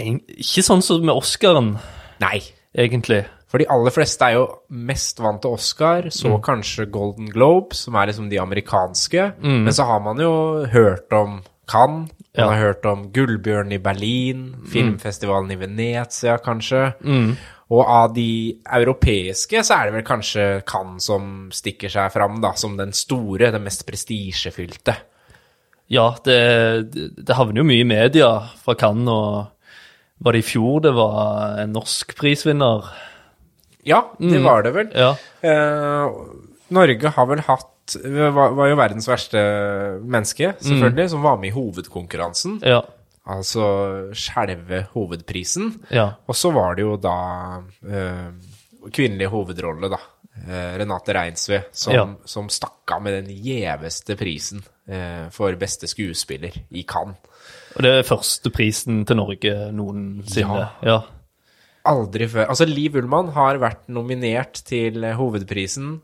en, ikke sånn som med Oscaren, Nei. egentlig. For de aller fleste er jo mest vant til Oscar, Mm. så kanskje Golden Globe, som er liksom de amerikanske. Men så har man jo hørt om Cannes, man Mm. Ja. Mm. har hørt om Gullbjørn i Berlin, filmfestivalen i Venezia kanskje. Og av de europeiske så er det vel kanskje Cannes som stikker seg fram da, som den store, den mest prestisjefylte. Ja, det, det havner jo mye i media fra Cannes, og var det i fjor det var en norsk prisvinner? Ja, det var det vel. Mm. Ja, Eh, Norge har vel hatt var, var jo verdens verste menneske, Mm. selvfølgelig, som var med i hovedkonkurransen. ja, Altså skjelve hovedprisen. ja. Og så var det jo da eh, kvinnelig hovedrolle, da. eh, Renate Reinsve, som, Ja. som stakk av med den gjeveste prisen eh, for beste skuespiller i Cannes. Og det er første prisen til Norge noensinne. Ja, Aldri før. Altså, Liv Ullmann har vært nominert til eh, hovedprisen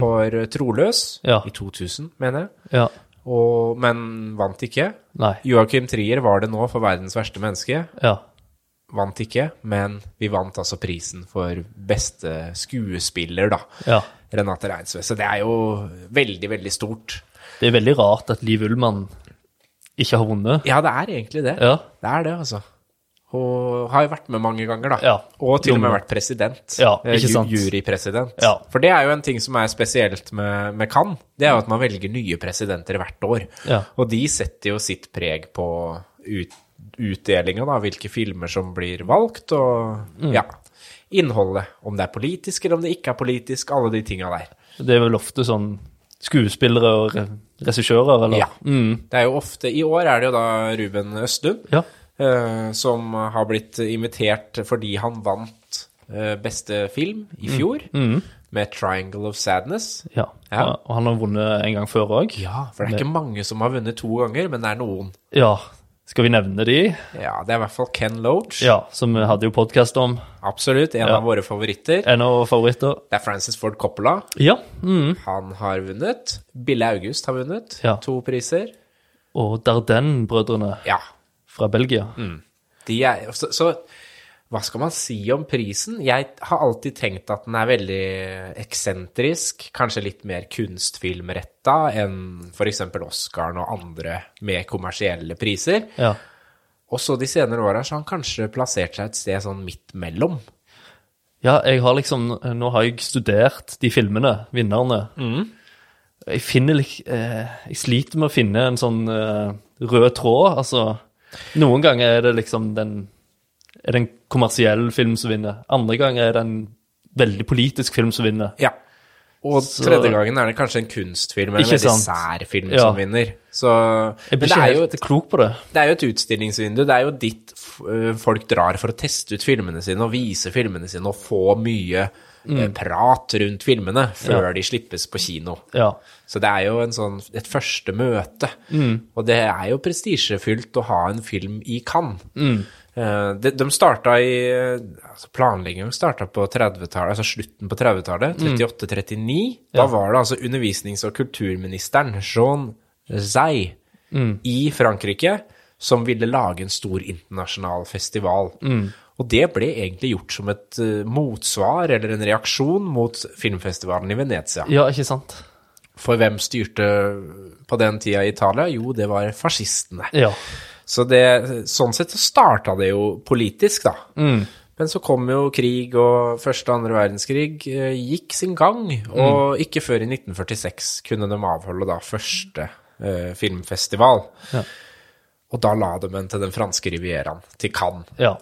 for Troløs Mm. Ja. i 2000, mener jeg. ja, Og, men vant ikke. nei, Joakim Trier var det nå for verdens verste menneske. ja. Vant ikke, men vi vant altså prisen for beste skuespiller, da. Ja. Renate Reinsve. Så det er jo veldig, veldig stort. Det er veldig rart at Liv Ullmann ikke har vunnet. Ja, det er egentlig det. Ja. Det er det, altså. Hun har jo vært med mange ganger, da. Ja. Og til og med Dumme. vært president. Ja, Eh, ikke ju- sant. Jurypresident. Ja. For det er jo en ting som er spesielt med, med Cannes. Det er jo at man velger nye presidenter hvert år. Ja. Og de setter jo sitt preg på ut, utdelinga, da. Hvilke filmer som blir valgt, og Mm. ja. Innholdet. Om det er politisk, eller om det ikke er politisk. Alle de tinga der. Det er vel ofte sånn skuespillere og re regissører, eller? Ja. Det er jo ofte I år er det jo da Ruben Østlund. Mm. Ja, eh, som har blitt invitert fordi han vant eh, beste film Mm. i fjor med 'Triangle of Sadness'. ja. Ja. Og han har vunnet en gang før òg. Ja, for det er ikke mange som har vunnet to ganger, men det er noen. Ja, skal vi nevne de? Ja, Det er i hvert fall Ken Loach. Ja, som vi hadde jo podkast om. Absolutt en Ja. av våre favoritter. En av favoritter. Det er Francis Ford Coppola. Ja. Mm. Han har vunnet. Bille August har vunnet Ja. to priser. Og Dardenne-brødrene Ja, fra Belgia. de er, så, så hva skal man si om prisen? Jeg har alltid tenkt at den er veldig eksentrisk, kanskje litt mer kunstfilmretta enn f.eks. Oscaren og andre med kommersielle priser. Ja. Og så de senere åra så har han kanskje plassert seg et sted sånn midt mellom. ja, jeg har liksom Nå har jeg studert de filmene, vinnerne. Jeg finner lik- eh, Jeg sliter med å finne en sånn eh, rød tråd. Altså, noen ganger er det liksom den Er det en kommersiell film som vinner. Andre ganger er det en veldig politisk film som vinner. Ja. Og Så- tredje gangen er det kanskje en kunstfilm eller en Ikke veldig sant? sær film Ja. som vinner. Så, men Jeg blir det ikke er, jo helt et, klok på det. det er jo et utstillingsvindu. Det er jo dit f- øh, folk drar for å teste ut filmene sine og vise filmene sine og få mye eh, prat rundt filmene før de slippes på kino. Ja. Så det er jo en sånn, et første møte. Og det er jo prestisjefylt å ha en film i Cannes. Eh, de, de starta i eh, altså Planleggingen starta på 30-tallet, altså slutten på 30-tallet, 38-39. Da var det altså undervisnings- og kulturministeren Jean Zay i Frankrike som ville lage en stor internasjonal festival. Og det ble egentlig gjort som et eh, motsvar eller en reaksjon mot filmfestivalen i Venezia. ja, ikke sant? For hvem styrte på den tida i Italia? Jo, det var fascistene. Ja. Så det, sånn sett så starta det jo politisk, da. Men så kom jo krig, og første og andre verdenskrig eh, gikk sin gang. Og ikke før i 1946 kunne de avholde da første eh, filmfestival. Og da la de den til den franske rivieraen, til Cannes. Ja.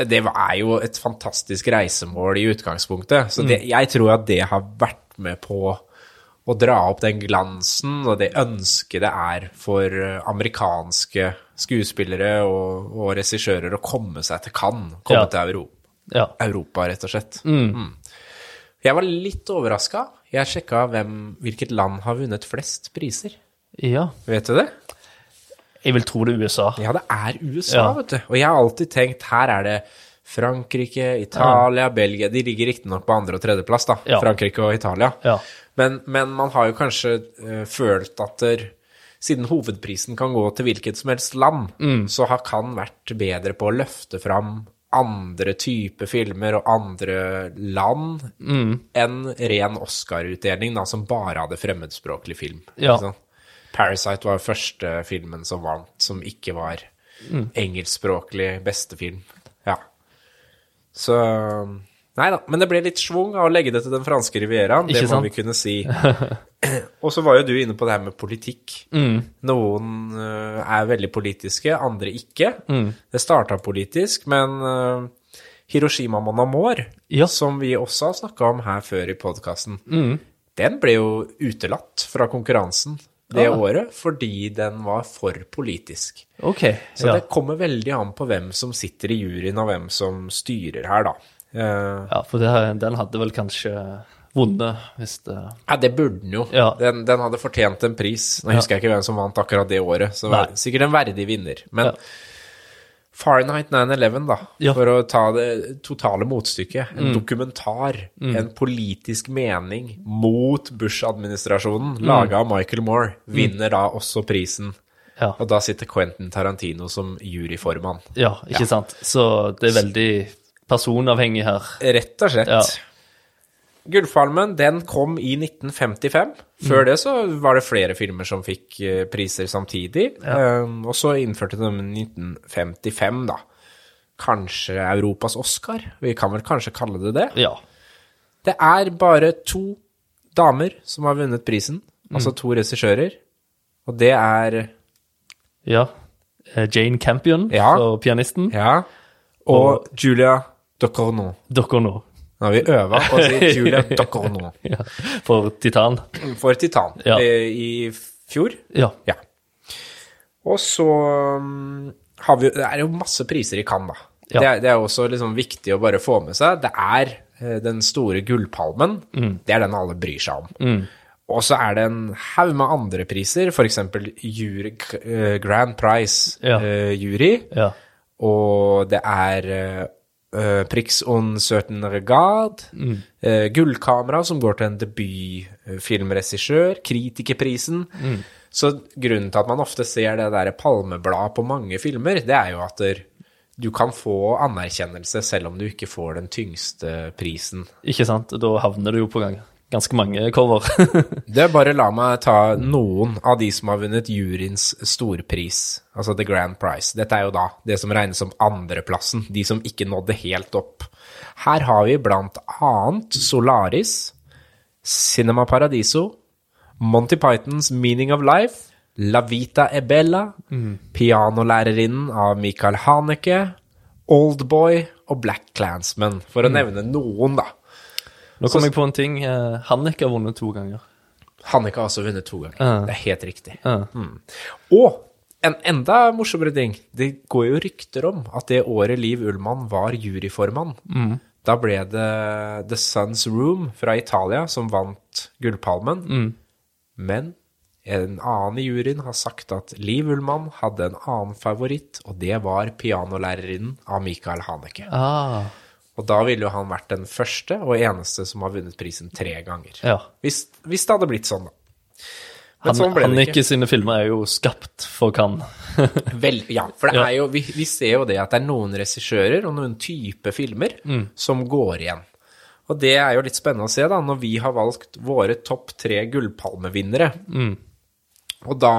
Det var- er jo et fantastisk reisemål i utgangspunktet, så det, jeg tror at det har vært med på å dra opp den glansen og det ønsket det er for eh, amerikanske skuespillere og, og regissører å komme seg til Cannes, komme Ja. til Europa, Ja. Europa, rett og slett. Mm. Jeg var litt overraska. Jeg sjekka hvem, hvilket land har vunnet flest priser. ja. Vet du det? Jeg vil tro det er USA. Ja, det er USA, Ja. vet du. Og jeg har alltid tenkt her er det Frankrike, Italia, Belgia De ligger riktignok på andre- og tredjeplass, da. Ja. Frankrike og Italia. Ja. Men, men man har jo kanskje eh, følt at der, siden hovedprisen kan gå til hvilket som helst land, Mm. så har Cannes vært bedre på å løfte fram andre typer filmer og andre land Mm. enn ren Oscar-utdeling, da, som bare hadde fremmedspråklig film. Ja. Ikke sant? Parasite var første filmen som vant, som ikke var engelskspråklig beste film. Ja. Så Nei da, men det ble litt schwung av å legge det til den franske rivieraen, det Ikke må sant? vi kunne si. Og så var jo du inne på det her med politikk. Mm. Noen øh, er veldig politiske, andre ikke. Mm. Det starta politisk, men øh, Hiroshima Mon Amour, Ja. Mm. som vi også har snakka om her før i podkasten, den ble jo utelatt fra konkurransen det Ah. året fordi den var for politisk. OK. Så ja. det kommer veldig an på hvem som sitter i juryen, og hvem som styrer her, da. Eh, ja, for det, den hadde vel kanskje vunnet hvis det Ja, det burde den jo. Ja. Den, den hadde fortjent en pris. Nå husker jeg ikke hvem som vant akkurat det året, så Nei. vær- sikkert en verdig vinner. Men Ja. Fahrenheit 9-11, da, Ja. Mm. for å ta det totale motstykket. En dokumentar, en politisk mening mot Bush-administrasjonen, Mm. laget av Michael Moore, vinner da også prisen. Ja. Og da sitter Quentin Tarantino som juryformann. ja ikke sant? Så det er veldig personavhengig her. Rett og slett. Ja. Gullfalmen den kom i 1955. Før det så var det flere filmer som fikk eh, priser samtidig. Eh, og så innførte de den i 1955, da. Kanskje Europas Oscar? Vi kan vel kanskje kalle det det? Ja. Det er bare to damer som har vunnet prisen. Altså to regissører. Og det er ja. Eh, Jane Campion, Ja. for pianisten. Ja. Og Julia Docorno. Dere nå. Nå har vi øva på å si Julia Docorno Ja. For Titan. for Titan Ja. eh, i fjor. Ja. Ja. Og så um, har vi jo Det er jo masse priser i Cannes, da. Ja. Det, er, det er også liksom viktig å bare få med seg. Det er eh, den store gullpalmen. Mm. Det er den alle bryr seg om. Og så er det en haug med andre priser, f.eks. Jury, eh, Grand eh, Ja. Prize-jury. Ja. Og det er eh, Prix on certain regard. eh, gullkamera, som går til en debutfilmregissør. Kritikerprisen. Så grunnen til at man ofte ser det der palmebladet på mange filmer, det er jo at der, du kan få anerkjennelse selv om du ikke får den tyngste prisen. Ikke sant? Da havner du jo på gang. ganske mange cover. Det er bare la meg ta noen av de som har vunnet juryens storpris, altså The Grand Prize. Dette er jo da det som regnes som andreplassen, de som ikke nådde helt opp. Her har vi blant annet Solaris, Cinema Paradiso, Monty Pythons Meaning of Life, La Vita e Bella, Pianolærerinnen av Michael Haneke, Oldboy og Black Clansman, for å nevne noen, da. Nå kom jeg på en ting. eh, Hannek har vunnet to ganger. Haneke har også vunnet to ganger. Ja. Det er helt riktig. Ja. Mm. Og en enda morsommere ting. Det går jo rykter om at det året Liv Ullmann var juryformann, Mm. da ble det The Sun's Room fra Italia som vant Gullpalmen. Mm. Men en annen i juryen har sagt at Liv Ullmann hadde en annen favoritt, og det var pianolærerinnen av Michael Haneke. Ah, Og da ville jo han vært den første og eneste som har vunnet prisen tre ganger. ja. Hvis, hvis det hadde blitt sånn, da. Men Han, sånn ble det Hanneke ikke. sine filmer er jo skapt for Cannes. Vel, ja, for det er jo, vi, vi ser jo det at det er noen regissører og noen type filmer som går igjen. Og det er jo litt spennende å se, da, når vi har valgt våre topp tre gullpalmevinnere. Og da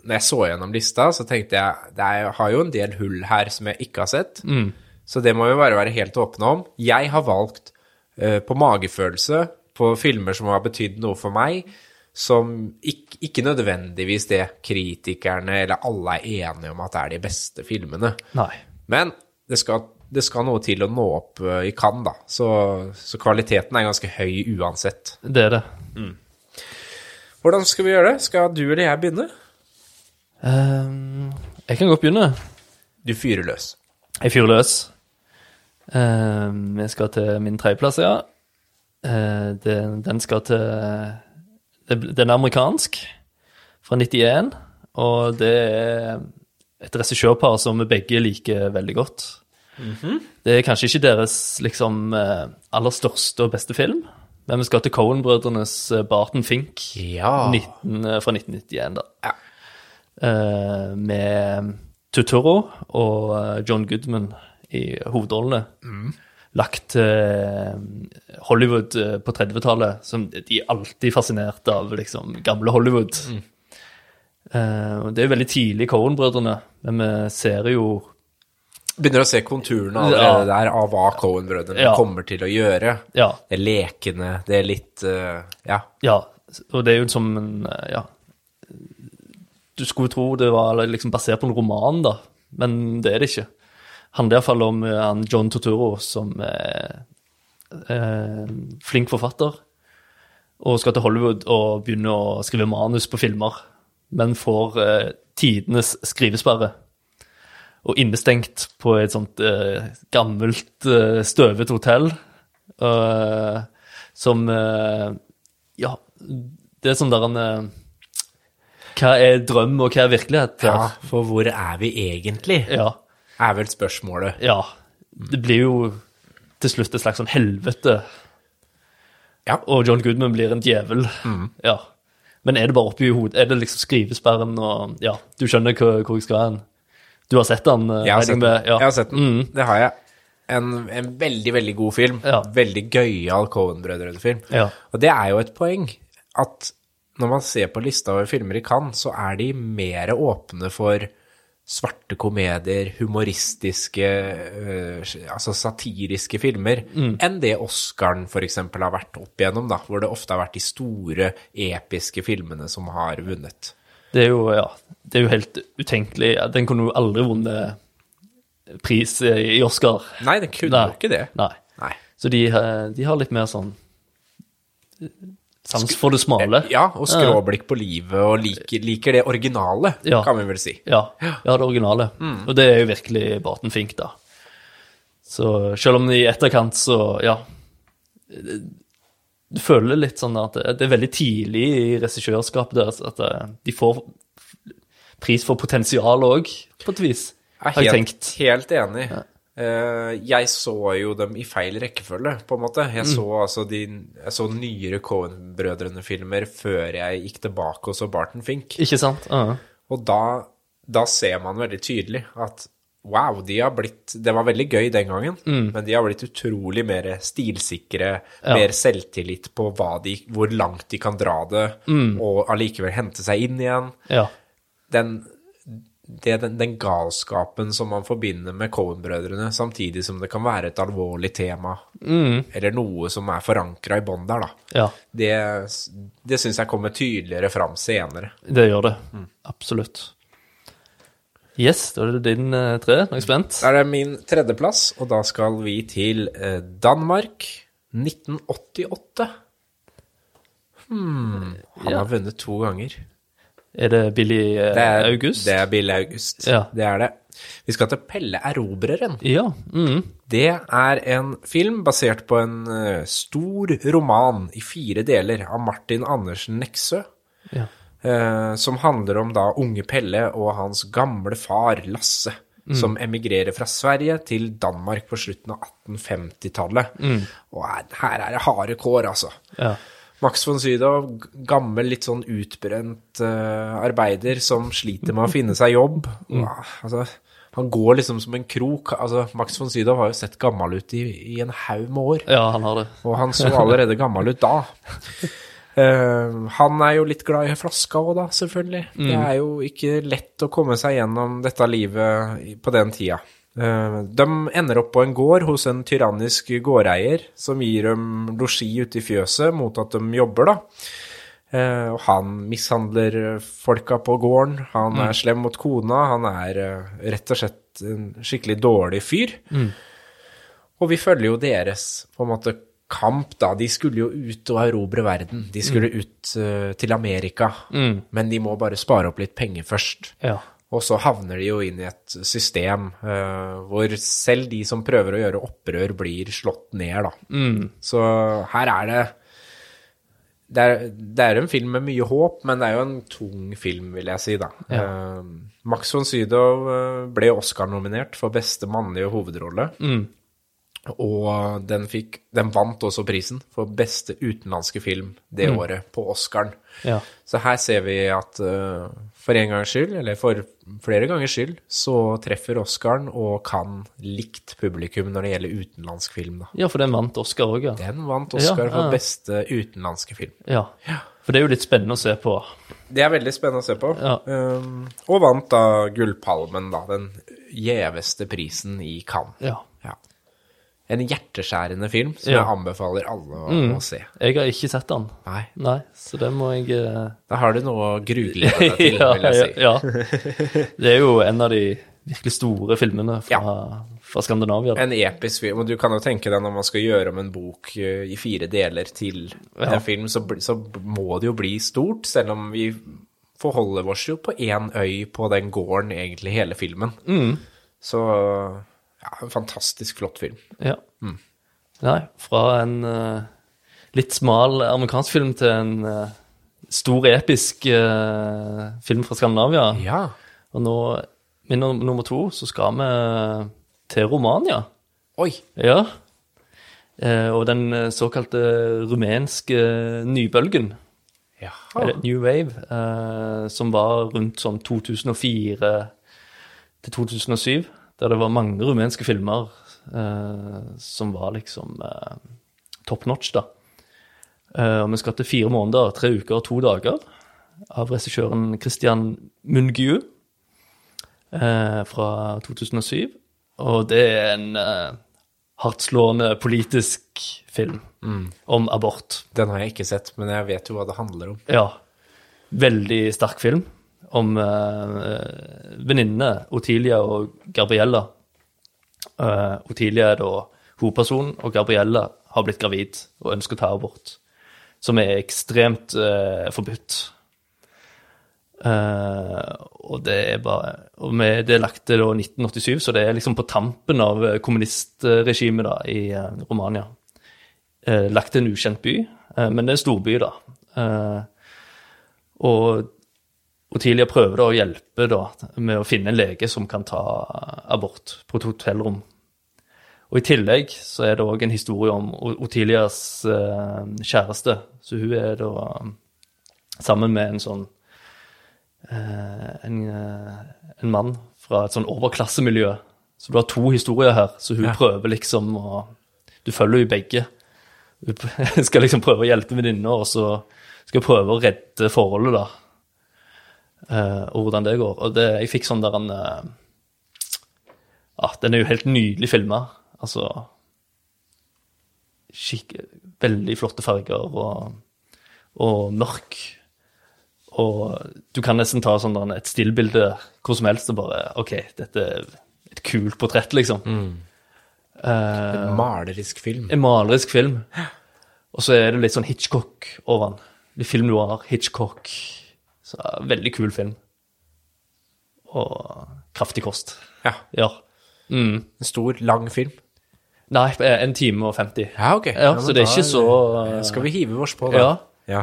når jeg så gjennom lista, så tenkte jeg det er, har jo en del hull her som jeg ikke har sett. Så det må vi bare være helt åpne om. Jeg har valgt eh, på magefølelse, på filmer som har betydd noe for meg, som ikke, ikke nødvendigvis det kritikerne eller alle er enige om at er de beste filmene. Nei. Men det skal, det skal noe til å nå opp eh, i Cannes, da. Så, så kvaliteten er ganske høy uansett. Det er det. Hvordan skal vi gjøre det? Skal du eller jeg begynne? Ehm, Jeg kan godt begynne. Du fyrer løs. Jeg fyrer løs. Eh, jeg skal til min tredjeplass, ja. Eh, det, den skal til det, Den er amerikansk, fra 91. Og det er et regissørpar som vi begge liker veldig godt. Mhm. Det er kanskje ikke deres liksom, eh, aller største og beste film, men vi skal til Cohen-brødrenes eh, Barton Fink Ja. 19, eh, fra 1991, da. Ah. Ja. Eh, med Tutoro og eh, John Goodman i hovedrollene. Lagt til eh, Hollywood eh, på 30-tallet, som de er alltid fascinert av, liksom, gamle Hollywood. Eh, og det er jo veldig tidlig Cohen-brødrene, men vi ser jo Begynner å se konturene allerede der av hva Cohen-brødrene Ja. kommer til å gjøre. Ja, Det er lekende, det er litt eh, Ja. Ja, og det er jo som en eh, Ja. Du skulle tro det var liksom basert på en roman, da, men det er det ikke. Handler iallfall om eh, han John Totoro som er, eh, flink forfatter og skal til Hollywood og begynne å skrive manus på filmer, men får eh, tidenes skrivesperre. Og innestengt på et sånt eh, gammelt, eh, støvet hotell. eh, som eh, Ja, det er sånn der en eh, Hva er drøm, og hva er virkelighet? ja. her? For hvor er vi egentlig? ja. Er vel spørsmålet. Ja. Det blir jo til slutt et slags sånn helvete. Ja. Mm. Og John Goodman blir en djevel. Ja. Men er det bare oppi hodet? Er det liksom skrivesperren og Ja, du skjønner hvor, hvor jeg skal hen. Du har sett den? eh, Jeg har regner sett den. med- Jeg har sett den. Mm. Det har jeg. En, en veldig, veldig god film. Ja. Veldig gøyal Cohen-brødrene-film. Ja. Og det er jo et poeng at når man ser på lista over filmer i Cannes, så er de mer åpne for svarte komedier, humoristiske, øh, altså satiriske filmer, enn det Oscaren for eksempel har vært opp igjennom, da, hvor det ofte har vært de store, episke filmene som har vunnet. Det er jo ja, det er jo helt utenkelig. Ja, Den kunne jo aldri vunnet pris i i Oscar. Nei, den kunne Nei. jo ikke det. Nei. Nei. Så de, eh, de har litt mer sånn eh, Sans for det smale. Eh, Ja, og skråblikk på livet, og liker, liker det originale, Ja. kan vi vel si. Ja, ja det originale. Mm. Og det er jo virkelig Barton Fink, da. Så selv om i etterkant så, ja det- Du føler litt sånn at det det er veldig tidlig i regissørskapet deres at eh, de får pris for potensial òg, på et vis, Jeg har er jeg helt, tenkt. helt enig. Eh, jeg så jo dem i feil rekkefølge, på en måte. Mm. Jeg så altså de jeg så nyere Cohen-brødrene-filmer før jeg gikk tilbake og så Barton Fink. Ikke sant? Ja. Og da, da ser man veldig tydelig at wow, de har blitt Det var veldig gøy den gangen, men de har blitt utrolig mer stilsikre, Ja. mer selvtillit på hva de, hvor langt de kan dra det, og allikevel hente seg inn igjen ja. den, det, den, den galskapen som man forbinder med Cohen-brødrene, samtidig som det kan være et alvorlig tema, Mm. eller noe som er forankra i bånd der, da. ja. Det, det syns jeg kommer tydeligere fram senere. Det gjør det. Mm. Absolutt. Yes, da er det din eh, tre. Nå er jeg spent. Da er det min tredjeplass, og da skal vi til eh, Danmark. 1988. Hmm. Han Ja. har vunnet to ganger. Er det Billy eh, Det er, August? Det er Bill August. Ja. Det er det. Vi skal til Pelle Erobreren. Ja. mhm. Det er en film basert på en eh, stor roman i fire deler av Martin Andersen Neksø, ja. eh, som handler om da unge Pelle og hans gamle far Lasse, som emigrerer fra Sverige til Danmark på slutten av 1850-tallet. Og her, her er det harde kår, altså. ja. Max von Sydow, g- gammel, litt sånn utbrent eh, arbeider som sliter med å finne seg jobb. Wow, altså, han går liksom som en krok. Altså, Max von Sydow har jo sett gammel ut i, i en haug med år. Ja, han har det. Og han så allerede gammel ut da. Eh, han er jo litt glad i flaska òg, da, selvfølgelig. Det er jo ikke lett å komme seg gjennom dette livet i- på den tida. Eh, de ender opp på en gård hos en tyrannisk gårdeier, som gir dem losji ute i fjøset mot at de jobber, da. Eh, og han mishandler eh, folka på gården, han er slem mot kona, han er eh, rett og slett en skikkelig dårlig fyr. Og vi følger jo deres på en måte kamp, da. De skulle jo ut og erobre verden. De skulle ut eh, til Amerika. Men de må bare spare opp litt penger først. Ja. Og så havner de jo inn i et system eh, hvor selv de som prøver å gjøre opprør, blir slått ned, da. Så her er det det er, det er en film med mye håp, men det er jo en tung film, vil jeg si, da. Eh, Max von Sydow eh, ble Oscar-nominert for beste mannlige hovedrolle. Og den, fikk, den vant også prisen for beste utenlandske film det året, på Oscaren. Ja. Så her ser vi at eh, for en gangs skyld, eller for flere gangers skyld, så treffer Oscaren og kan likt publikum når det gjelder utenlandsk film, da. Ja, for den vant Oscar òg, ja. Den vant Oscar Ja, ja. for beste utenlandske film. ja. For det er jo litt spennende å se på. Det er veldig spennende å se på. Ja. Um, og vant da Gullpalmen, da. Den gjeveste prisen i Cannes. Ja. Ja. En hjerteskjærende film som Ja. Mm. jeg anbefaler alle å, å se. Jeg har ikke sett den. Nei, Nei, så det må jeg eh, da har du noe å gruglede deg til, vil jeg si. ja, ja. Det er jo en av de virkelig store filmene fra, fra Skandinavia. da. En episk film. Og du kan jo tenke deg når man skal gjøre om en bok eh, i fire deler til en film, så, bli- så må det jo bli stort, selv om vi forholder oss jo på én øy på den gården egentlig hele filmen. Mm. Så ja, en fantastisk flott film. Ja. Nei, fra en eh, litt smal amerikansk film til en eh, stor, episk eh, film fra Skandinavia. Ja. Og nå, min num- nummer to, så skal vi til Romania. Oi. Ja. Eh, og den eh, såkalte rumenske nybølgen, Jaha. eller New Wave, eh, som var rundt sånn 2004 til 2007, der det var mange rumenske filmer eh, som var liksom eh, top notch, da. Eh, og vi skal til fire måneder, tre uker og to dager av regissøren Christian Mungiu eh, fra 2007. Og det er en eh, hardtslående politisk film om abort. Den har jeg ikke sett, men jeg vet jo hva det handler om. Ja. Veldig sterk film om uh, venninnene Otilia og Gabriella. Eh, Otilia er da hovedpersonen, og Gabriella har blitt gravid og ønsker å ta abort. Som er ekstremt eh, forbudt. Eh, og det er bare og med, Det er lagt til da 1987, så det er liksom på tampen av eh, kommunistregimet da, i eh, Romania eh, lagt til en ukjent by, eh, men det er en storby, da. Eh, og Otilia prøver da å hjelpe da, med å finne en lege som kan ta abort på et hotellrom. Og I tillegg så er det òg en historie om O- Otilias eh, kjæreste. Så hun er da eh, sammen med en sånn eh, en, eh, en mann fra et sånn overklassemiljø. Så du har to historier her, så hun Ja. prøver liksom å Du følger jo begge. Hun p- skal liksom prøve å hjelpe venninner, og så skal hun prøve å redde forholdet, da. Eh, og hvordan det går. Og det, jeg fikk sånn der en eh, ah, Den er jo helt nydelig filma. Altså skikk, Veldig flotte farger og, og mørk. Og du kan nesten ta sånn der, et stillbilde hvor som helst og bare OK, dette er et kult portrett, liksom. Eh, En malerisk film. en malerisk film. Og så er det litt sånn Hitchcock over den. Litt film noir, Hitchcock. Så ja, Veldig kul film. Og kraftig kost. Ja. Ja. Mm. En stor, lang film. Nei, eh, en time og 50. Ja, ok. Ja, men så det er da ikke så, eh, Skal vi hive oss på, da? Ja. Ja.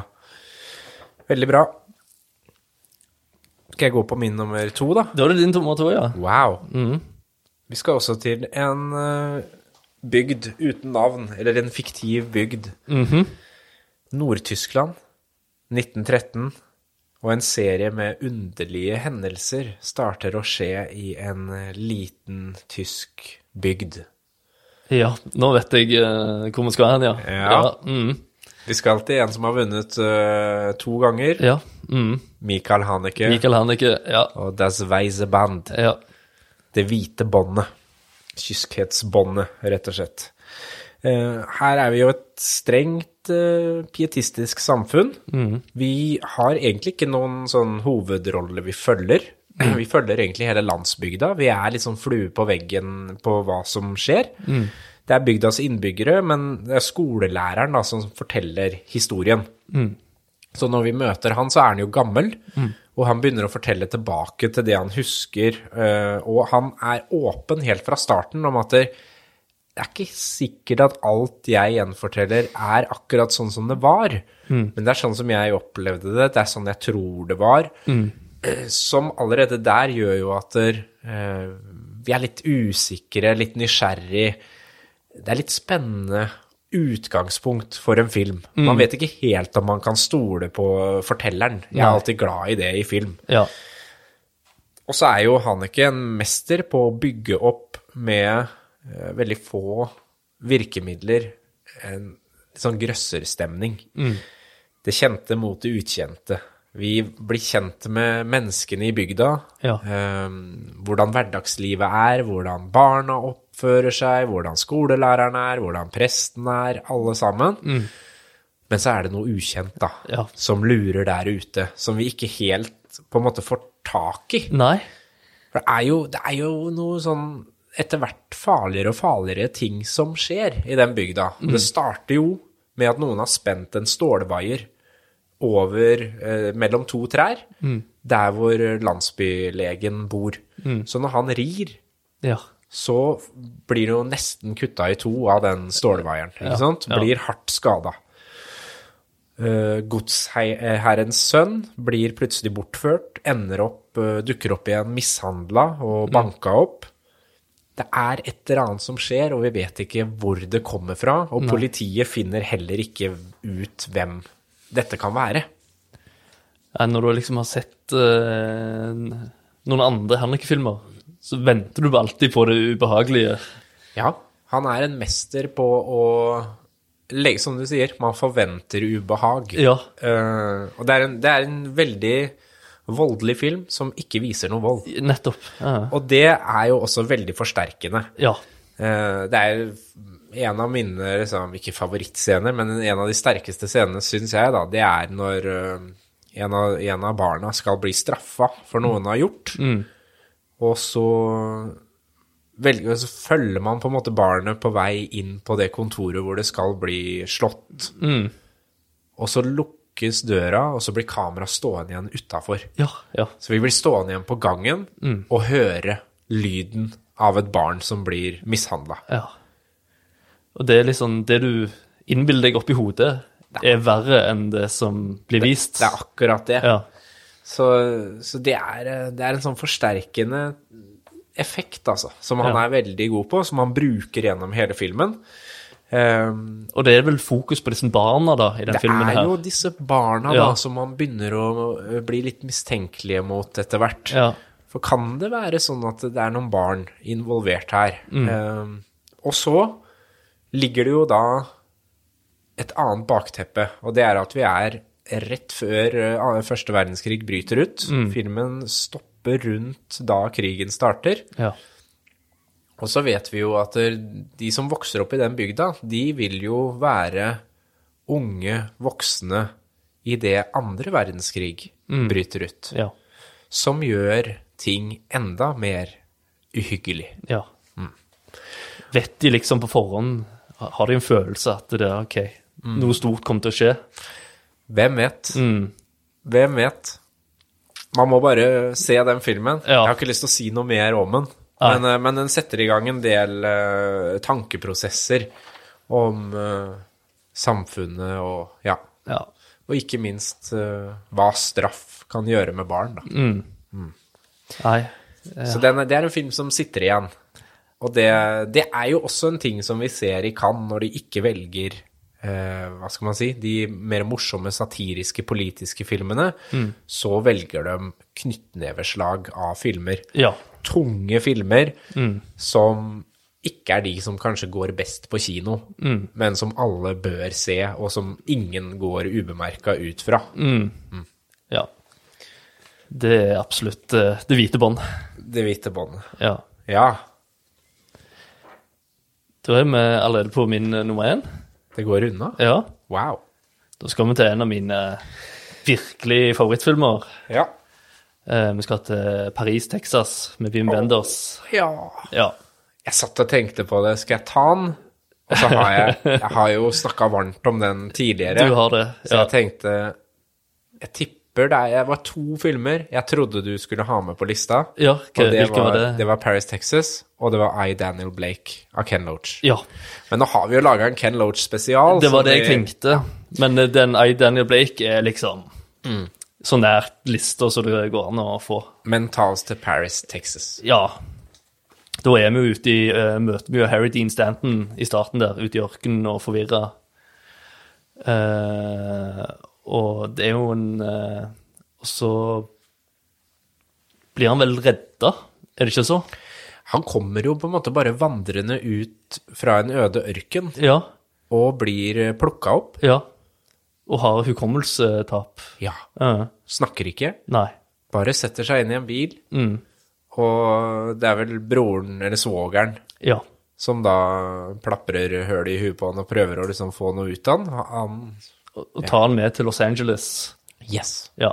Veldig bra. Skal jeg gå på min nummer to, da? Da er det din nummer to, ja. Wow. Vi skal også til en eh, bygd uten navn, eller en fiktiv bygd. Nord-Tyskland, 1913, og en serie med underlige hendelser starter å skje i en eh, liten tysk bygd. Ja, nå vet jeg eh, hvor vi skal hen, ja. Ja. mm. Vi skal til en som har vunnet eh, to ganger, ja. Mm. Michael Haneke, Michael Haneke, ja. og Das Weise Band. ja. Det hvite båndet. Kyskhetsbåndet, rett og slett. Eh, Her er vi jo et strengt eh, pietistisk samfunn. Vi har egentlig ikke noen sånn hovedrolle vi følger. Vi følger egentlig hele landsbygda. Vi er litt sånn flue på veggen på hva som skjer. Det er bygdas innbyggere, men det er skolelæreren da, som forteller historien. Så når vi møter han, så er han jo gammel. Og han begynner å fortelle tilbake til det han husker, eh, og han er åpen helt fra starten om at det det er ikke sikkert at alt jeg gjenforteller er akkurat sånn som det var, men det er sånn som jeg opplevde det, det er sånn jeg tror det var, eh, som allerede der gjør jo at eh, vi er litt usikre, litt nysgjerrig. Det er litt spennende utgangspunkt for en film. Man vet ikke helt om man kan stole på fortelleren. Jeg er alltid glad i det i film. Ja. Og så er jo Haneke en mester på å bygge opp med eh, veldig få virkemidler en litt sånn grøsserstemning. Mm. Det kjente mot det ukjente. Vi blir kjent med menneskene i bygda. Ja. eh, hvordan hverdagslivet er, hvordan barna oppfører seg, hvordan skolelæreren er, hvordan presten er, alle sammen. Men så er det noe ukjent, da, Mm. Ja. som lurer der ute, som vi ikke helt på en måte får tak i. Nei. For det er jo, det er jo noe sånn etter hvert farligere og farligere ting som skjer i den bygda. Det starter jo med at noen har spent en stålvaier over eh, mellom to trær, der hvor landsbylegen bor. Så når han rir, Ja. så blir det jo nesten kutta i to av den stålvaieren. Ikke sant? ja. Blir hardt skada. Uh, Godsherrens sønn blir plutselig bortført, ender opp, eh, dukker opp igjen mishandla Mm. og banka opp. Det er et eller annet som skjer, og vi vet ikke hvor det kommer fra. Og politiet finner heller ikke ut hvem dette kan være. Ja, Når du liksom har sett eh, noen andre Hanneke-filmer, så venter du bare alltid på det ubehagelige. Ja, han er en mester på å legge, som du sier, man forventer ubehag. Ja. Eh, og det er, en, det er en veldig voldelig film som ikke viser noe vold. Nettopp. Ja. Og det er jo også veldig forsterkende. ja. Eh, det er en av mine, liksom, ikke favorittscener, men en av de sterkeste scenene, syns jeg, da, det er når eh, en, av, en av barna skal bli straffa for noe hun har gjort. Og så velger, så følger man på en måte barnet på vei inn på det kontoret hvor det skal bli slått. Og så lukkes døra, og så blir kameraet stående igjen utafor. Ja. ja. Så vi blir stående igjen på gangen Mm. og høre lyden av et barn som blir mishandla. Ja. Og det er liksom det du innbiller deg oppi hodet, er verre enn det som blir vist. Det er akkurat det. Ja. Så, så det, er, eh, det er en sånn forsterkende effekt, altså, som han Ja. er veldig god på, som han bruker gjennom hele filmen. Ehm, Og det er vel fokus på disse barna, da, i den det filmen er her. jo disse barna da, Ja. som man begynner å eh, bli litt mistenkelige mot etter hvert. Ja. For kan det være sånn at det er noen barn involvert her? Mm. Ehm, og så ligger det jo da et annet bakteppe, og det er at vi er rett før eh, første verdenskrig bryter ut. Mm. Filmen stopper rundt da krigen starter. Ja. Og så vet vi jo at eh, de som vokser opp i den bygda, de vil jo være unge voksne i det andre verdenskrig Mm. bryter ut. Ja. Som gjør ting enda mer uhyggelig. ja. Vet de liksom på forhånd Har de en følelse at det er OK, noe stort kommer til å skje? Hvem vet? Mm. Hvem vet? Man må bare se den filmen. Ja. Jeg har ikke lyst til å si noe mer om den. Nei. Men, eh, men den setter i gang en del eh, tankeprosesser om eh, samfunnet og ja, Ja. Og ikke minst eh, hva straff kan gjøre med barn. Da. Nei. Så den, er- det er en film som sitter igjen. Og det, det er jo også en ting som vi ser i Cannes når de ikke velger eh, hva skal man si, de mer morsomme satiriske, politiske filmene. Så velger de knyttneveslag av filmer. Ja. Tunge filmer som ikke er de som kanskje går best på kino, men som alle bør se, og som ingen går ubemerka ut fra. Ja. Det er absolutt eh, det hvite bånd. Det hvite båndet. Ja. Ja, Da er vi allerede på min eh, nummer én. det går unna. Ja. Wow. Da skal vi til en av mine virkelig favorittfilmer. Ja. Eh, vi skal til Paris, Texas, med Wim Wenders. ja. Ja. Jeg satt og tenkte på det. Skal jeg ta den? Og så har jeg, jeg har jo snakka varmt om den tidligere, Du har det. så Ja. jeg tenkte Jeg tipper tipper det er, det var to filmer jeg trodde du skulle ha med på lista. Ja, hva, og det hvilken var, det? var Paris, Texas, og det var I, Daniel Blake av Ken Loach. Ja, Men nå har vi jo laga en Ken Loach-spesial. det så var det jeg tenkte. Men eh, den I. Daniel Blake er liksom Mm. så nært lista som det går an å få. Men ta oss til Paris, Texas. Ja. Da er vi jo ute i eh, Møter vi jo Harry Dean Stanton i starten der, ute i ørkenen og forvirra. Eh, og det er jo en eh, Og så blir han vel redda, er det ikke så? Han kommer jo på en måte bare vandrende ut fra en øde ørken Ja. og blir plukka opp. ja. Og har hukommelsetap. Ja. Eh, Snakker ikke, nei. bare setter seg inn i en bil. Mm. Og det er vel broren, eller svogeren, Ja. som da plaprer høl i huet på han og prøver å liksom få noe ut av han. han. Og, og tar han med til Los Angeles. Yes. Ja.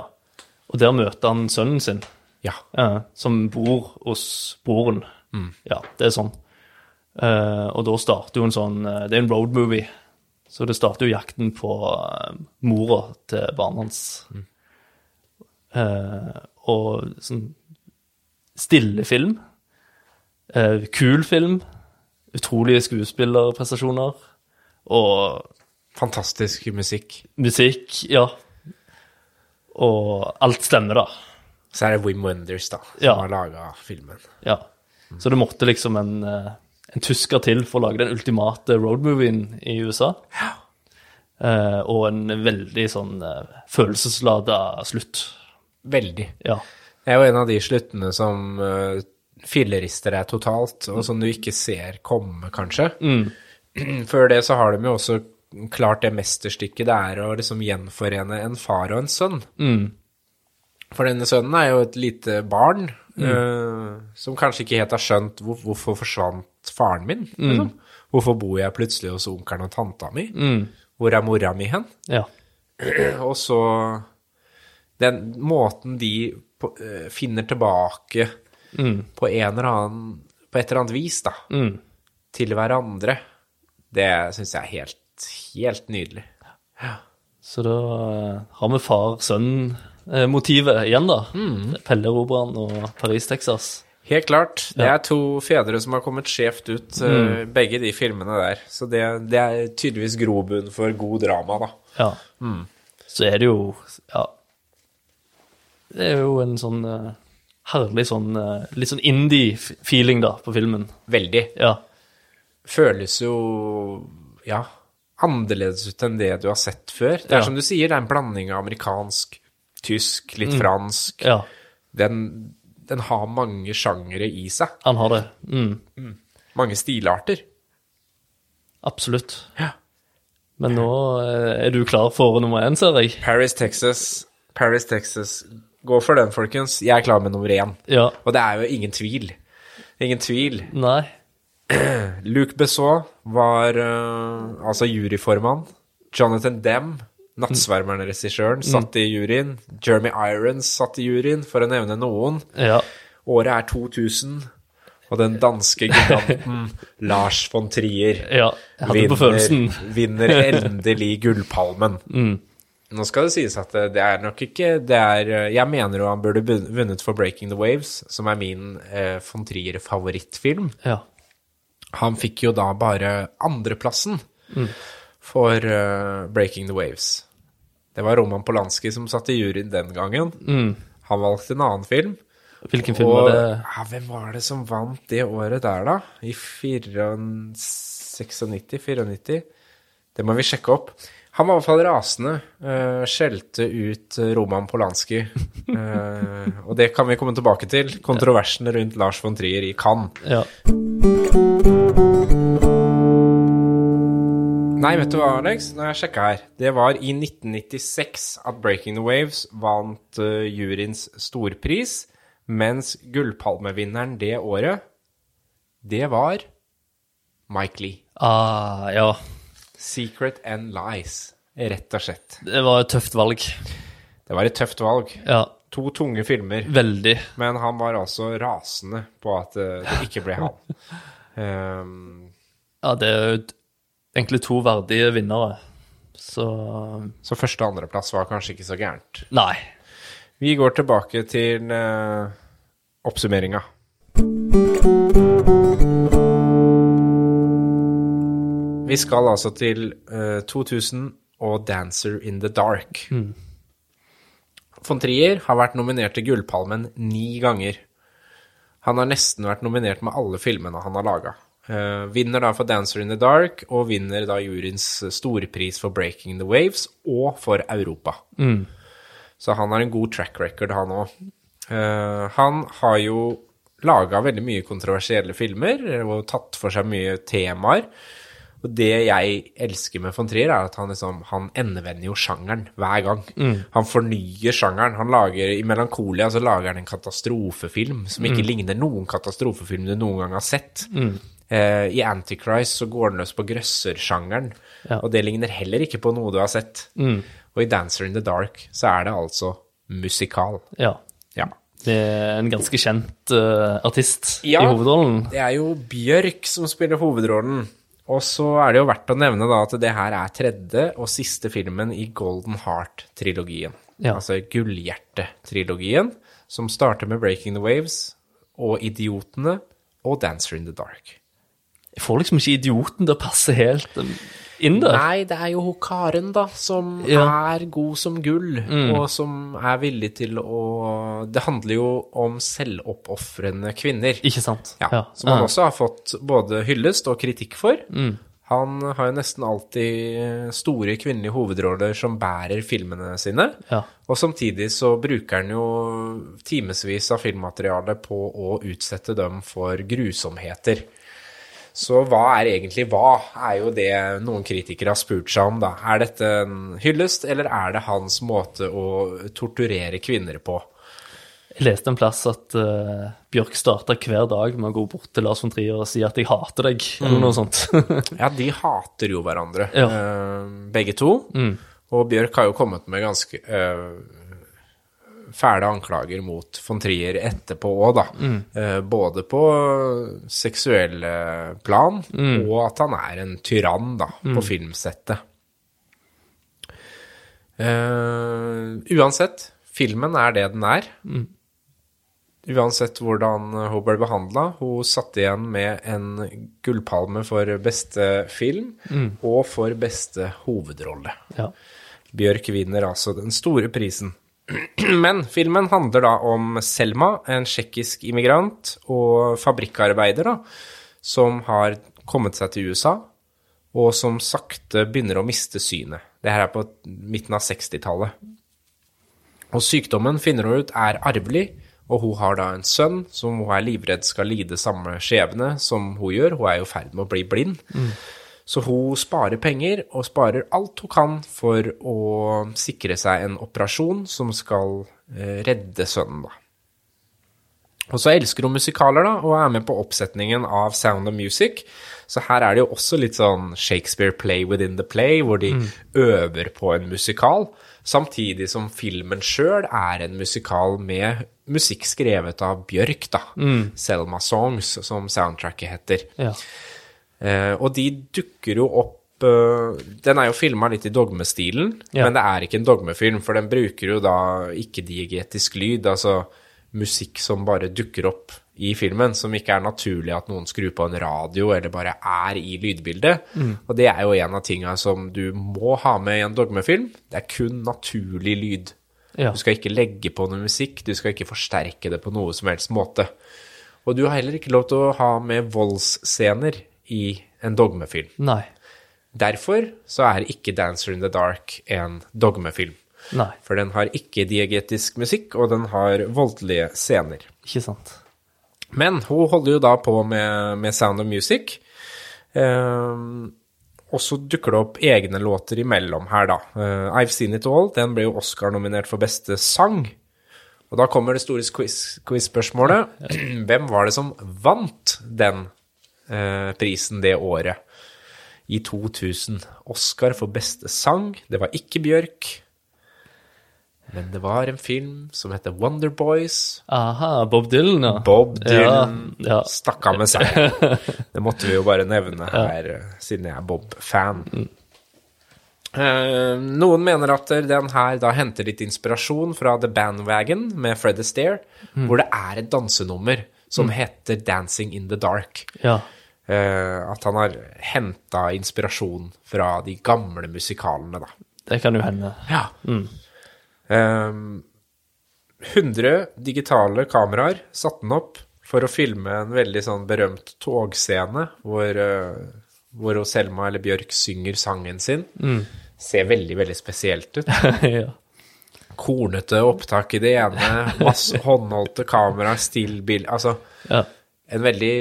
Og der møter han sønnen sin. Ja. Ja, som bor hos broren. Ja, det er sånn. Eh, og da starter jo en sånn eh, Det er en road movie. Så det starter jo jakten på eh, mora til barnet hans. Eh, og sånn stille film. eh, kul film. Utrolige skuespillerprestasjoner. Og Fantastisk musikk. musikk, ja. Og alt stemmer, da. Så er det Wim Wenders, da, som Ja. har laga filmen. Ja. Så det måtte liksom en, eh, en tysker til for å lage den ultimate roadmovien i USA. Eh, og en veldig sånn eh, følelseslada slutt. Veldig. Ja. Det er jo en av de sluttene som eh, fillerister deg totalt, og som du ikke ser komme, kanskje. Før det så har de jo også klart det mesterstykket det er å liksom gjenforene en far og en sønn. Mm, For denne sønnen er jo et lite barn, eh, som kanskje ikke helt har skjønt hvor, hvorfor forsvant faren min, liksom. Hvorfor bor jeg plutselig hos onkelen og tanta mi? Hvor er mora mi hen? ja. Og så den måten de på, eh, finner tilbake på en eller annen På et eller annet vis, da, Mm. til hverandre, det syns jeg er helt, helt nydelig. Så da eh, har vi far-sønn-motivet igjen, da. Pelleroberaen og Paris, Texas. Helt klart. Det er to fedre som har kommet skjevt ut, eh, begge de filmene der. Så det, det er tydeligvis grobunn for god drama, da. Ja. Så er det jo Ja. Det er jo en sånn eh, herlig sånn eh, Litt sånn indie-feeling, da, på filmen. Veldig. Ja. føles jo ja, annerledes ut enn det du har sett før. Det er Ja. som du sier, det er en blanding av amerikansk, tysk, litt fransk. Mm. ja. Den, den har mange sjangere i seg. Han har det. Mm, Mange stilarter. absolutt. Ja. Men nå eh, er du klar for nummer én, ser jeg. Paris, Texas. Paris, Texas. Gå for den, folkens. Jeg er klar med nummer én. Ja. Og det er jo ingen tvil. Ingen tvil. Nei. Luc Besson var eh, altså juryformann. Jonathan Dem, nattsvermerne-regissøren, Mm. satt i juryen. Jeremy Irons satt i juryen, for å nevne noen. Ja. Året er 2000, og den danske giganten Lars von Trier ja. Jeg hadde på følelsen. Mm. vinner endelig Gullpalmen. Nå skal det sies at eh, det det er nok ikke det er, eh, Jeg mener jo han burde bun- vunnet for 'Breaking the Waves', som er min eh, von Trier-favorittfilm. Ja. Han fikk jo da bare andreplassen for eh, Breaking the Waves. Det var Roman Polanski som satt i juryen den gangen. Han valgte en annen film. Hvilken film og var det? ja, hvem var det som vant det året der, da? I 96-94? Det må vi sjekke opp. Han var i hvert fall rasende. eh, skjelte ut eh, Roman Polanski. Eh, og det kan vi komme tilbake til. Kontroversen rundt Lars von Trier i Cannes. Ja. Nei, vet du hva, Alex? Nå har jeg sjekka her. Det var i 1996 at Breaking the Waves vant eh, juryens storpris, mens gullpalmevinneren det året, det var Mike Lee. Ah, ja. Secret and Lies, rett og slett. Det var et tøft valg. Det var et tøft valg. Ja. To tunge filmer, Veldig. men han var altså rasende på at eh, det ikke ble han. Ehm, Ja, det er jo d- egentlig to verdige vinnere. Så så første- og andreplass var kanskje ikke så gærent. Nei. Vi går tilbake til uh, oppsummeringa. Vi skal altså til eh, 2000 og 'Dancer in the Dark'. Von Trier har vært nominert til Gullpalmen ni ganger. Han har nesten vært nominert med alle filmene han har laga. vinner da for 'Dancer in the Dark', og vinner da juryens eh, storpris for 'Breaking the Waves' og for Europa. Så han har en god track record, han òg. han har jo laga veldig mye kontroversielle filmer og tatt for seg mye temaer. Og det jeg elsker med von Trier, er at han, liksom, han endevender jo sjangeren hver gang. Han fornyer sjangeren. Han lager, I Melankolia så lager han en katastrofefilm som ikke ligner noen katastrofefilm du noen gang har sett. Eh, I Antichrist så går han løs på grøssersjangeren, Ja. og det ligner heller ikke på noe du har sett. Og i Dancer in the Dark så er det altså musikal. Ja. Ja. Det er en ganske kjent eh, artist Ja. i hovedrollen. Det er jo Bjørk som spiller hovedrollen. Og så er det jo verdt å nevne da at det her er tredje og siste filmen i Golden Heart-trilogien. Ja. Altså Gullhjerte-trilogien, som starter med Breaking the Waves og Idiotene og Dancer in the Dark. Jeg får liksom ikke idioten til å passe helt um, inn der. Nei, det er jo hun Karen, da, som Ja. er god som gull, og som er villig til å Det handler jo om selvoppofrende kvinner. Ikke sant? Ja, Mm. Som han også har fått både hyllest og kritikk for. Han har jo nesten alltid store kvinnelige hovedroller som bærer filmene sine. Ja. Og samtidig så bruker han jo timevis av filmmateriale på å utsette dem for grusomheter. Så hva er egentlig hva, er jo det noen kritikere har spurt seg om, da. Er dette en hyllest, eller er det hans måte å torturere kvinner på? Jeg leste en plass at eh, Bjørk starta hver dag med å gå bort til Lars von Trier og si at 'jeg hater deg', Mm. eller noe sånt. Ja, de hater jo hverandre, Ja. eh, begge to. Og Bjørk har jo kommet med ganske eh, fæle anklager mot von Trier etterpå òg, da. Eh, både på seksuelle plan, og at han er en tyrann, da, på filmsettet. Eh, uansett, filmen er det den er. Uansett hvordan eh, hun ble behandla, hun satt igjen med en gullpalme for beste film og for beste hovedrolle. ja. Bjørk vinner altså den store prisen. Men filmen handler da om Selma, en tsjekkisk immigrant og fabrikkarbeider, da, som har kommet seg til USA, og som sakte begynner å miste synet. Det her er på midten av 60-tallet. Og sykdommen finner hun ut er arvelig, og hun har da en sønn som hun er livredd skal lide samme skjebne som hun gjør. Hun er jo i ferd med å bli blind. Så hun sparer penger og sparer alt hun kan for å sikre seg en operasjon som skal eh, redde sønnen, da. Og så elsker hun musikaler, da, og er med på oppsetningen av Sound of Music. Så her er det jo også litt sånn Shakespeare play within the play, hvor de øver på en musikal, samtidig som filmen sjøl er en musikal med musikk skrevet av Bjørk, da. Selma Songs, som soundtracket heter. ja. Eh, og de dukker jo opp eh, Den er jo filma litt i dogmestilen, Ja. men det er ikke en dogmefilm, for den bruker jo da ikke-diegetisk lyd, altså musikk som bare dukker opp i filmen, som ikke er naturlig at noen skrur på en radio eller bare er i lydbildet. Og det er jo en av tinga som du må ha med i en dogmefilm. Det er kun naturlig lyd. Ja. Du skal ikke legge på noe musikk, du skal ikke forsterke det på noe som helst måte. Og du har heller ikke lov til å ha med voldsscener i en dogmefilm. Nei. Derfor så er ikke 'Dancer in the Dark' en dogmefilm. Nei. For den har ikke diegetisk musikk, og den har voldelige scener. Ikke sant. Men hun holder jo da på med, med Sound of Music. Ehm, og så dukker det opp egne låter imellom her, da. Eh, I've Seen It All, den ble jo Oscar-nominert for beste sang. Og da kommer det store quiz- quiz-spørsmålet. Hvem var det som vant den eh, prisen det året? I 2000. Oscar for beste sang. Det var ikke Bjørk. Men det var en film som heter Wonder Boys, Aha, Bob Dylan, ja. Bob Dylan Ja, ja. stakk av med seier. Mm. Det måtte vi jo bare nevne her, eh, siden jeg er Bob-fan. Eh, noen mener at den her da henter litt inspirasjon fra The Bandwagon med Fred Astaire, Mm. hvor det er et dansenummer som heter Dancing in the Dark. Ja. Eh, at han har henta inspirasjon fra de gamle musikalene, da. Det kan jo hende. Ja. Ehm, 100 digitale kameraer satte han opp for å filme en veldig sånn berømt togscene hvor, eh, hvor Selma eller Bjørk synger sangen sin. Ser veldig, veldig spesielt ut. ja. Kornete opptak i det ene, masse håndholdte kameraer, stillbild Altså ja. en veldig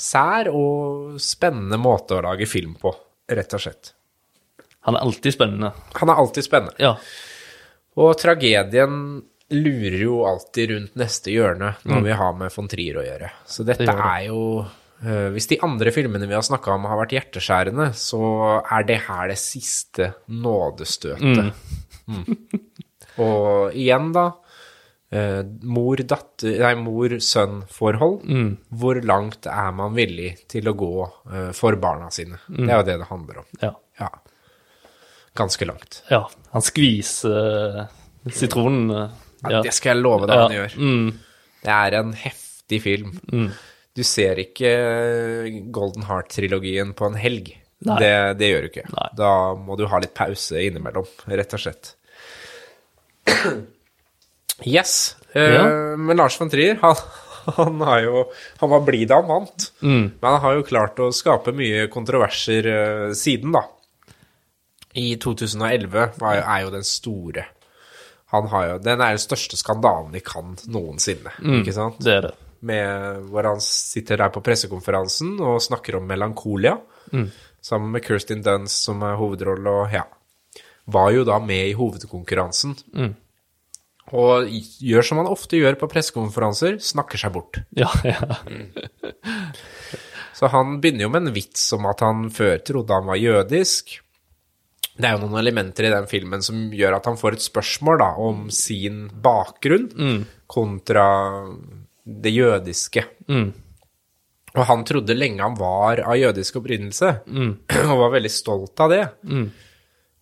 sær og spennende måte å lage film på, rett og slett. Han er alltid spennende. Han er alltid spennende. Ja. Og tragedien lurer jo alltid rundt neste hjørne når vi har med von Trier å gjøre. Så dette Mm. Det gjør det. er jo eh, Hvis de andre filmene vi har snakka om har vært hjerteskjærende, så er det her det siste nådestøtet. Mm. Og igjen, da. Mor-datter Nei, mor-sønn-forhold. Mm. Hvor langt er man villig til å gå eh, for barna sine? Det Mm. er jo det det handler om. ja. Ja. Ganske langt. Ja, han skviser eh, sitronen. eh, Ja. Det skal jeg love deg han Ja, Mm. gjør. Det er en heftig film. Du ser ikke eh, Golden Heart-trilogien på en helg. Nei. Det, det gjør du ikke. Nei. Da må du ha litt pause innimellom, rett og slett. Yes. Eh, Ja. Men Lars von Trier, han, han, har jo, han var blid da han vant. Mm. Men han har jo klart å skape mye kontroverser eh, siden, da. I 2011 var, jo- er jo den store han har jo, Den er jo den største skandalen i Cannes noensinne. Mm. ikke sant? Det er det. Med, hvor han sitter der på pressekonferansen og snakker om melankolia. Sammen med Kirstin Dunst som er hovedrolle, og ja Var jo da med i hovedkonkurransen. Og gjør som han ofte gjør på pressekonferanser, snakker seg bort. Ja, ja. Så han begynner jo med en vits om at han før trodde han var jødisk. Det er jo noen elementer i den filmen som gjør at han får et spørsmål da, om sin bakgrunn kontra det jødiske. Og han trodde lenge han var av jødisk opprinnelse, og var veldig stolt av det.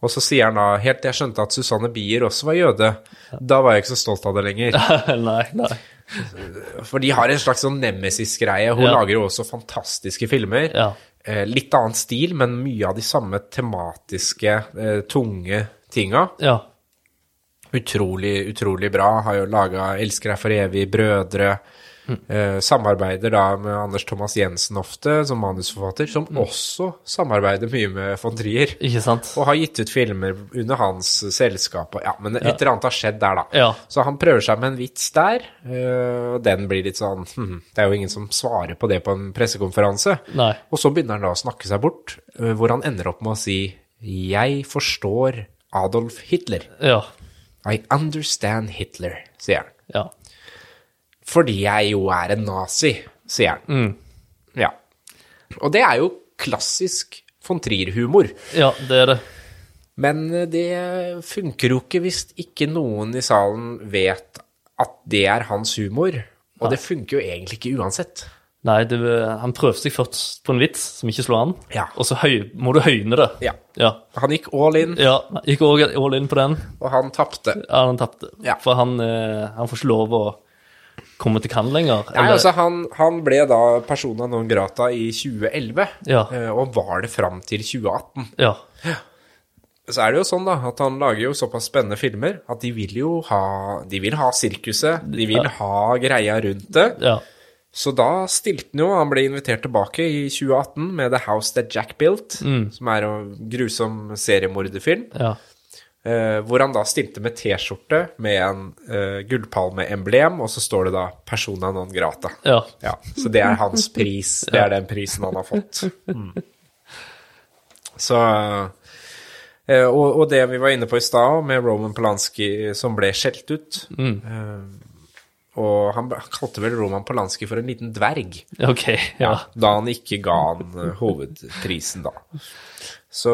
Og så sier han da, helt til jeg skjønte at Susanne Bier også var jøde, da var jeg ikke så stolt av det lenger. nei, nei. For de har en slags sånn nemesis-greie. Hun Ja. lager jo også fantastiske filmer. Ja. Eh, litt annen stil, men mye av de samme tematiske, eh, tunge tinga. Ja. Utrolig, utrolig bra. Har jo laga 'Elsker deg for evig', 'Brødre'. Mm. Eh, samarbeider da med Anders Thomas Jensen ofte, som manusforfatter, som Mm. også samarbeider mye med von Trier. Ikke sant? Og har gitt ut filmer under hans selskap. Og, ja, men et eller annet har skjedd der, da. Ja. Så han prøver seg med en vits der, øh, og den blir litt sånn hm, Det er jo ingen som svarer på det på en pressekonferanse. Nei. Og så begynner han da å snakke seg bort, øh, hvor han ender opp med å si Jeg forstår Adolf Hitler. Ja. I understand Hitler, sier han. Ja. Fordi jeg jo er en nazi, sier han. Mm. Ja. Og det er jo klassisk von Trier-humor. ja, det er det. Men eh, det funker jo ikke hvis ikke noen i salen vet at det er hans humor. Og det funker jo egentlig ikke uansett. Nei, det, han prøvde seg først på en vits som ikke slo an, Ja. og så høy, må du høyne det. Ja. Ja. Han gikk all in, ja. Gikk også all in på den. og han tapte. Ja, han tapte. Ja. For han, eh, han får ikke lov å komme til Cannes lenger. Nei, eller- altså han, han ble da persona non grata i 2011, Ja. eh, og var det fram til 2018. Ja. Så er det jo sånn da, at han lager jo såpass spennende filmer at de vil jo ha, de vil ha sirkuset, de vil ha greia rundt det. Ja. Så da stilte han jo, han ble invitert tilbake i 2018 med The House That Jack Built, som er en grusom seriemorderfilm, Ja. eh, hvor han da stilte med T-skjorte med en eh, gullpalmeemblem, og så står det da 'Persona non grata'. Ja. Ja, Så det er hans pris. Det er den prisen han har fått. Mm. Så eh, og, og det vi var inne på i stad, med Roman Polanski som ble skjelt ut eh, Og han kalte vel Roman Polanski for en liten dverg Ok. Ja. da han ikke ga han eh, hovedprisen, da. Så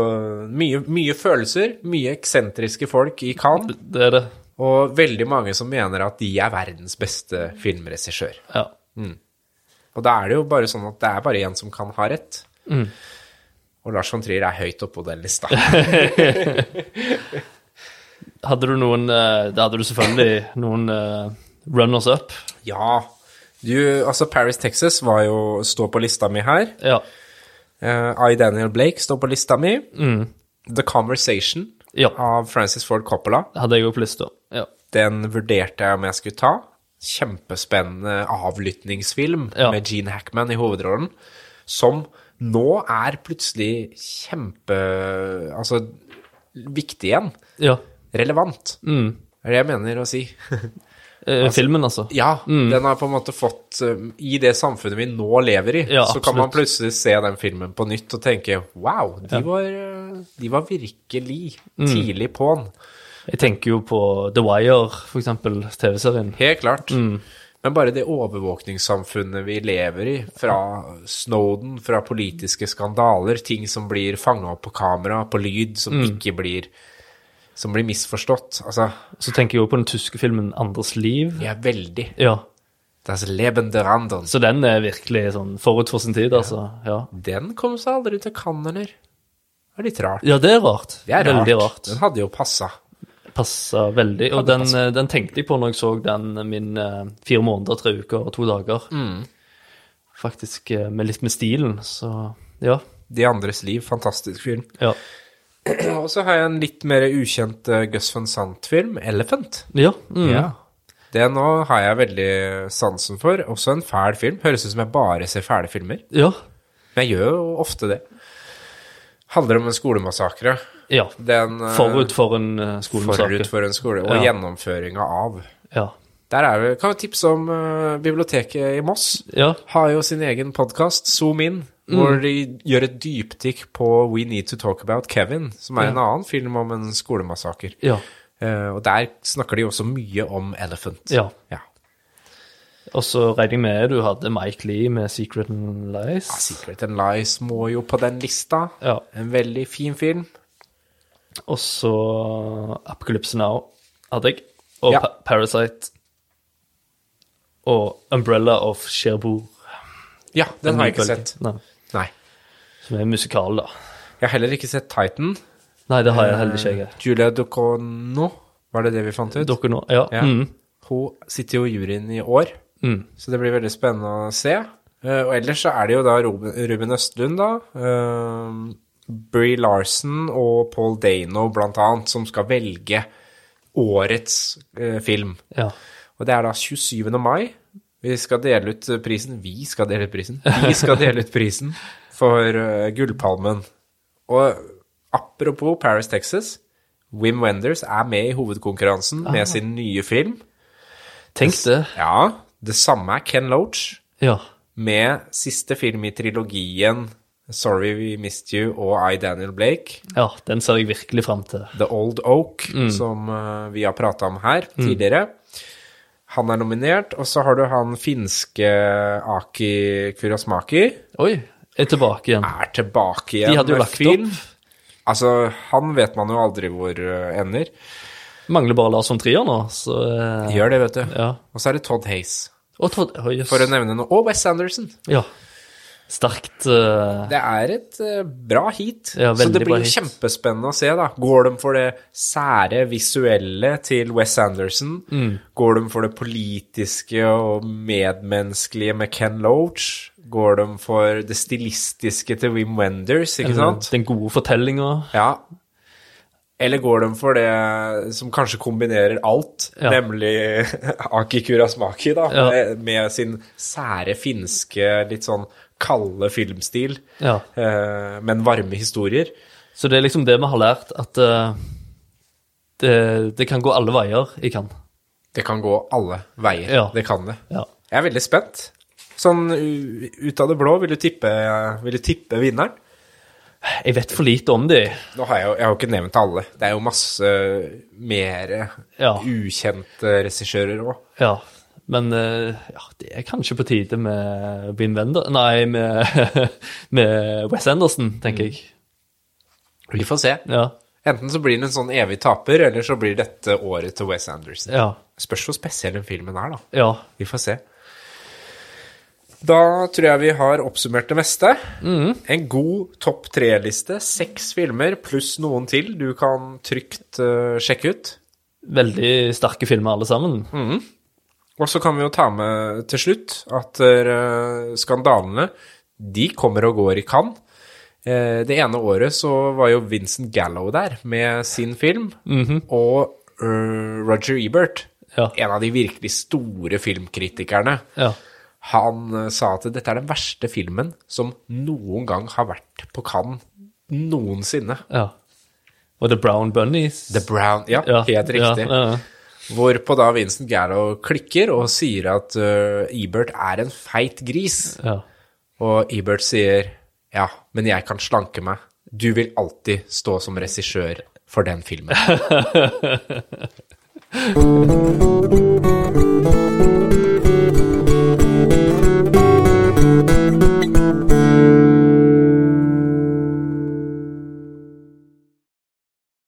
mye, mye følelser, mye eksentriske folk i Cannes, Det er det. og veldig mange som mener at de er verdens beste filmregissør. Ja. Og da er det jo bare sånn at det er bare én som kan ha rett. Og Lars von Trier er høyt oppå den lista. Hadde du noen eh, Da hadde du selvfølgelig noen eh, runners up. ja, du, altså Paris, Texas var jo stå på lista mi her. Ja. Eh, I. Daniel Blake står på lista mi. The Conversation Ja. av Francis Ford Coppola. Hadde jeg òg på lista. Ja. Den vurderte jeg om jeg skulle ta. Kjempespennende avlyttingsfilm Ja. med Gene Hackman i hovedrollen, som nå er plutselig kjempe Altså viktig igjen. ja. Relevant. Mm. Det er det jeg mener å si. Eh, filmen, altså. Ja, den har på en måte fått um, I det samfunnet vi nå lever i, Ja, så kan man absolutt. plutselig se den filmen på nytt og tenke wow, de, var, uh, de var virkelig Mm. tidlig på'n. Jeg tenker jo på The Wire, for eksempel, TV-serien. Helt klart. Mm. Men bare det overvåkningssamfunnet vi lever i, fra Snowden, fra politiske skandaler, ting som blir fanga opp på kamera, på lyd, som Mm. ikke blir Som blir misforstått. Altså, Så tenker jeg òg på den tyske filmen Andres liv. jeg er veldig Ja. Das Leben der anderen. Så den er virkelig sånn forut for sin tid, altså. Ja, Den kom seg aldri til Cannes, eller? Det er litt rart. ja det er rart. Det er rart. Veldig rart. Den hadde jo passa. Passa veldig. Og Ja, det den, eh, den tenkte jeg på når jeg så den min eh, fire måneder, tre uker og to dager. Mm. Faktisk eh, med litt med stilen, så ja. De andres liv, fantastisk film. Ja. Og så har jeg en litt mer ukjent eh, Gus van Sant-film, 'Elephant'. ja. Mm. Ja. Det nå har jeg veldig sansen for. Også en fæl film. Høres ut som jeg bare ser fæle filmer. ja. Men jeg gjør jo ofte det. Handler om en skolemassakre. Ja. Den, eh, Forut for en eh, skolesak. forut for en skole. Og Ja. gjennomføringa av. Ja. Der er vi, kan jo tipse om eh, biblioteket i Moss. ja. Har jo sin egen podkast, Zoom In, Mm. hvor de gjør et dypdykk på We Need To Talk About Kevin, som er en annen film om en skolemassaker. Ja. Eh, og der snakker de også mye om Elephant. Ja. ja. Og så regner jeg med du hadde Mike Lee med 'Secret and Lies'. Secret and Lies må jo på den lista. Ja. En veldig fin film. Og så Apocalypse Now hadde jeg. Og Ja. pa Parasite. Og Umbrella of Cherbourg. Ja, den har jeg ikke Nybølge. sett. Nei, Nei. som er en musikal, da. Jeg har heller ikke sett Titan. Nei, det har jeg heller ikke. jeg. Julia Ducono, var det det vi fant ut? Dere nå? Ja. ja. Mm. Hun sitter jo i juryen i år, så det blir veldig spennende å se. Eh, og ellers så er det jo da Ruben, Ruben Østlund, da. eh, Brie Larson og Paul Dano, blant annet, som skal velge årets eh, film. ja. Og det er da 27. mai. Vi skal dele ut eh, prisen. Vi skal dele ut prisen. Vi skal dele ut prisen for eh, Gullpalmen. Og apropos Paris, Texas. Wim Wenders er med i hovedkonkurransen med sin nye film. Tenk det. Ja, det samme er Ken Loach Ja. med siste film i trilogien Sorry We Missed You og I, Daniel Blake. ja. Den ser jeg virkelig fram til. The Old Oak, Mm. som eh, vi har prata om her tidligere. Han er nominert, og så har du han finske Aki Kurasmaki. Oi, jeg er tilbake igjen. Er tilbake igjen De hadde jo lagt opp. Altså, han vet man jo aldri hvor eh, ender. Mangler bare Lars von Trier nå, så eh, Gjør det, vet du. Ja. Og så er det Todd Hayes, Og Todd Oi, jøss. for å nevne noe. Og Wes Anderson. Ja. Sterkt eh, Det er et eh, bra heat, Ja, så veldig det bra blir jo heat. kjempespennende å se, da. Går de for det sære visuelle til Wes Anderson? Mm. Går de for det politiske og medmenneskelige med Ken Loach? Går de for det stilistiske til Wim Wenders, Mm. ikke sant? Den gode fortellinga. Ja. Eller går de for det som kanskje kombinerer alt, Ja. nemlig Aki Kurasmaki, da, Ja. med, med sin sære finske, litt sånn kalde filmstil, Ja. eh, men varme historier. Så det er liksom det vi har lært, at eh, det, det kan gå alle veier i Cannes. Det kan gå alle veier. Ja. Det kan det. Ja. Jeg er veldig spent. Sånn u- ut av det blå, vil du tippe, vil du tippe vinneren? Jeg vet for lite om de. Nå har jeg, jo, jeg har jo ikke nevnt alle. Det er jo masse mer Ja. ukjente regissører òg. Ja. Men eh, ja, det er kanskje på tide med Wim Wender Nei, med, med Wes Anderson, tenker jeg. Vi får se. Ja. Enten så blir det en sånn evig taper, eller så blir dette året til Wes Anderson. Ja. Spørs hvor spesiell den filmen er, da. ja. Vi får se. Da tror jeg vi har oppsummert det meste. En god topp tre-liste. Seks filmer pluss noen til du kan trygt eh, sjekke ut. Veldig sterke filmer, alle sammen. Og så kan vi jo ta med til slutt at eh, skandalene, de kommer og går i Cannes. Eh, det ene året så var jo Vincent Gallo der med sin film, og eh, Roger Ebert, Mhm. Ja. en av de virkelig store filmkritikerne, Ja. han eh, sa at dette er den verste filmen som noen gang har vært på Cannes noensinne. ja. Og The Brown Bunnies. The Brown, ja, ja. helt riktig. Ja, ja. Hvorpå da Vincent Gallo klikker og sier at eh, Ebert er en feit gris. ja. Og Ebert sier ja, men jeg kan slanke meg. Du vil alltid stå som regissør for den filmen.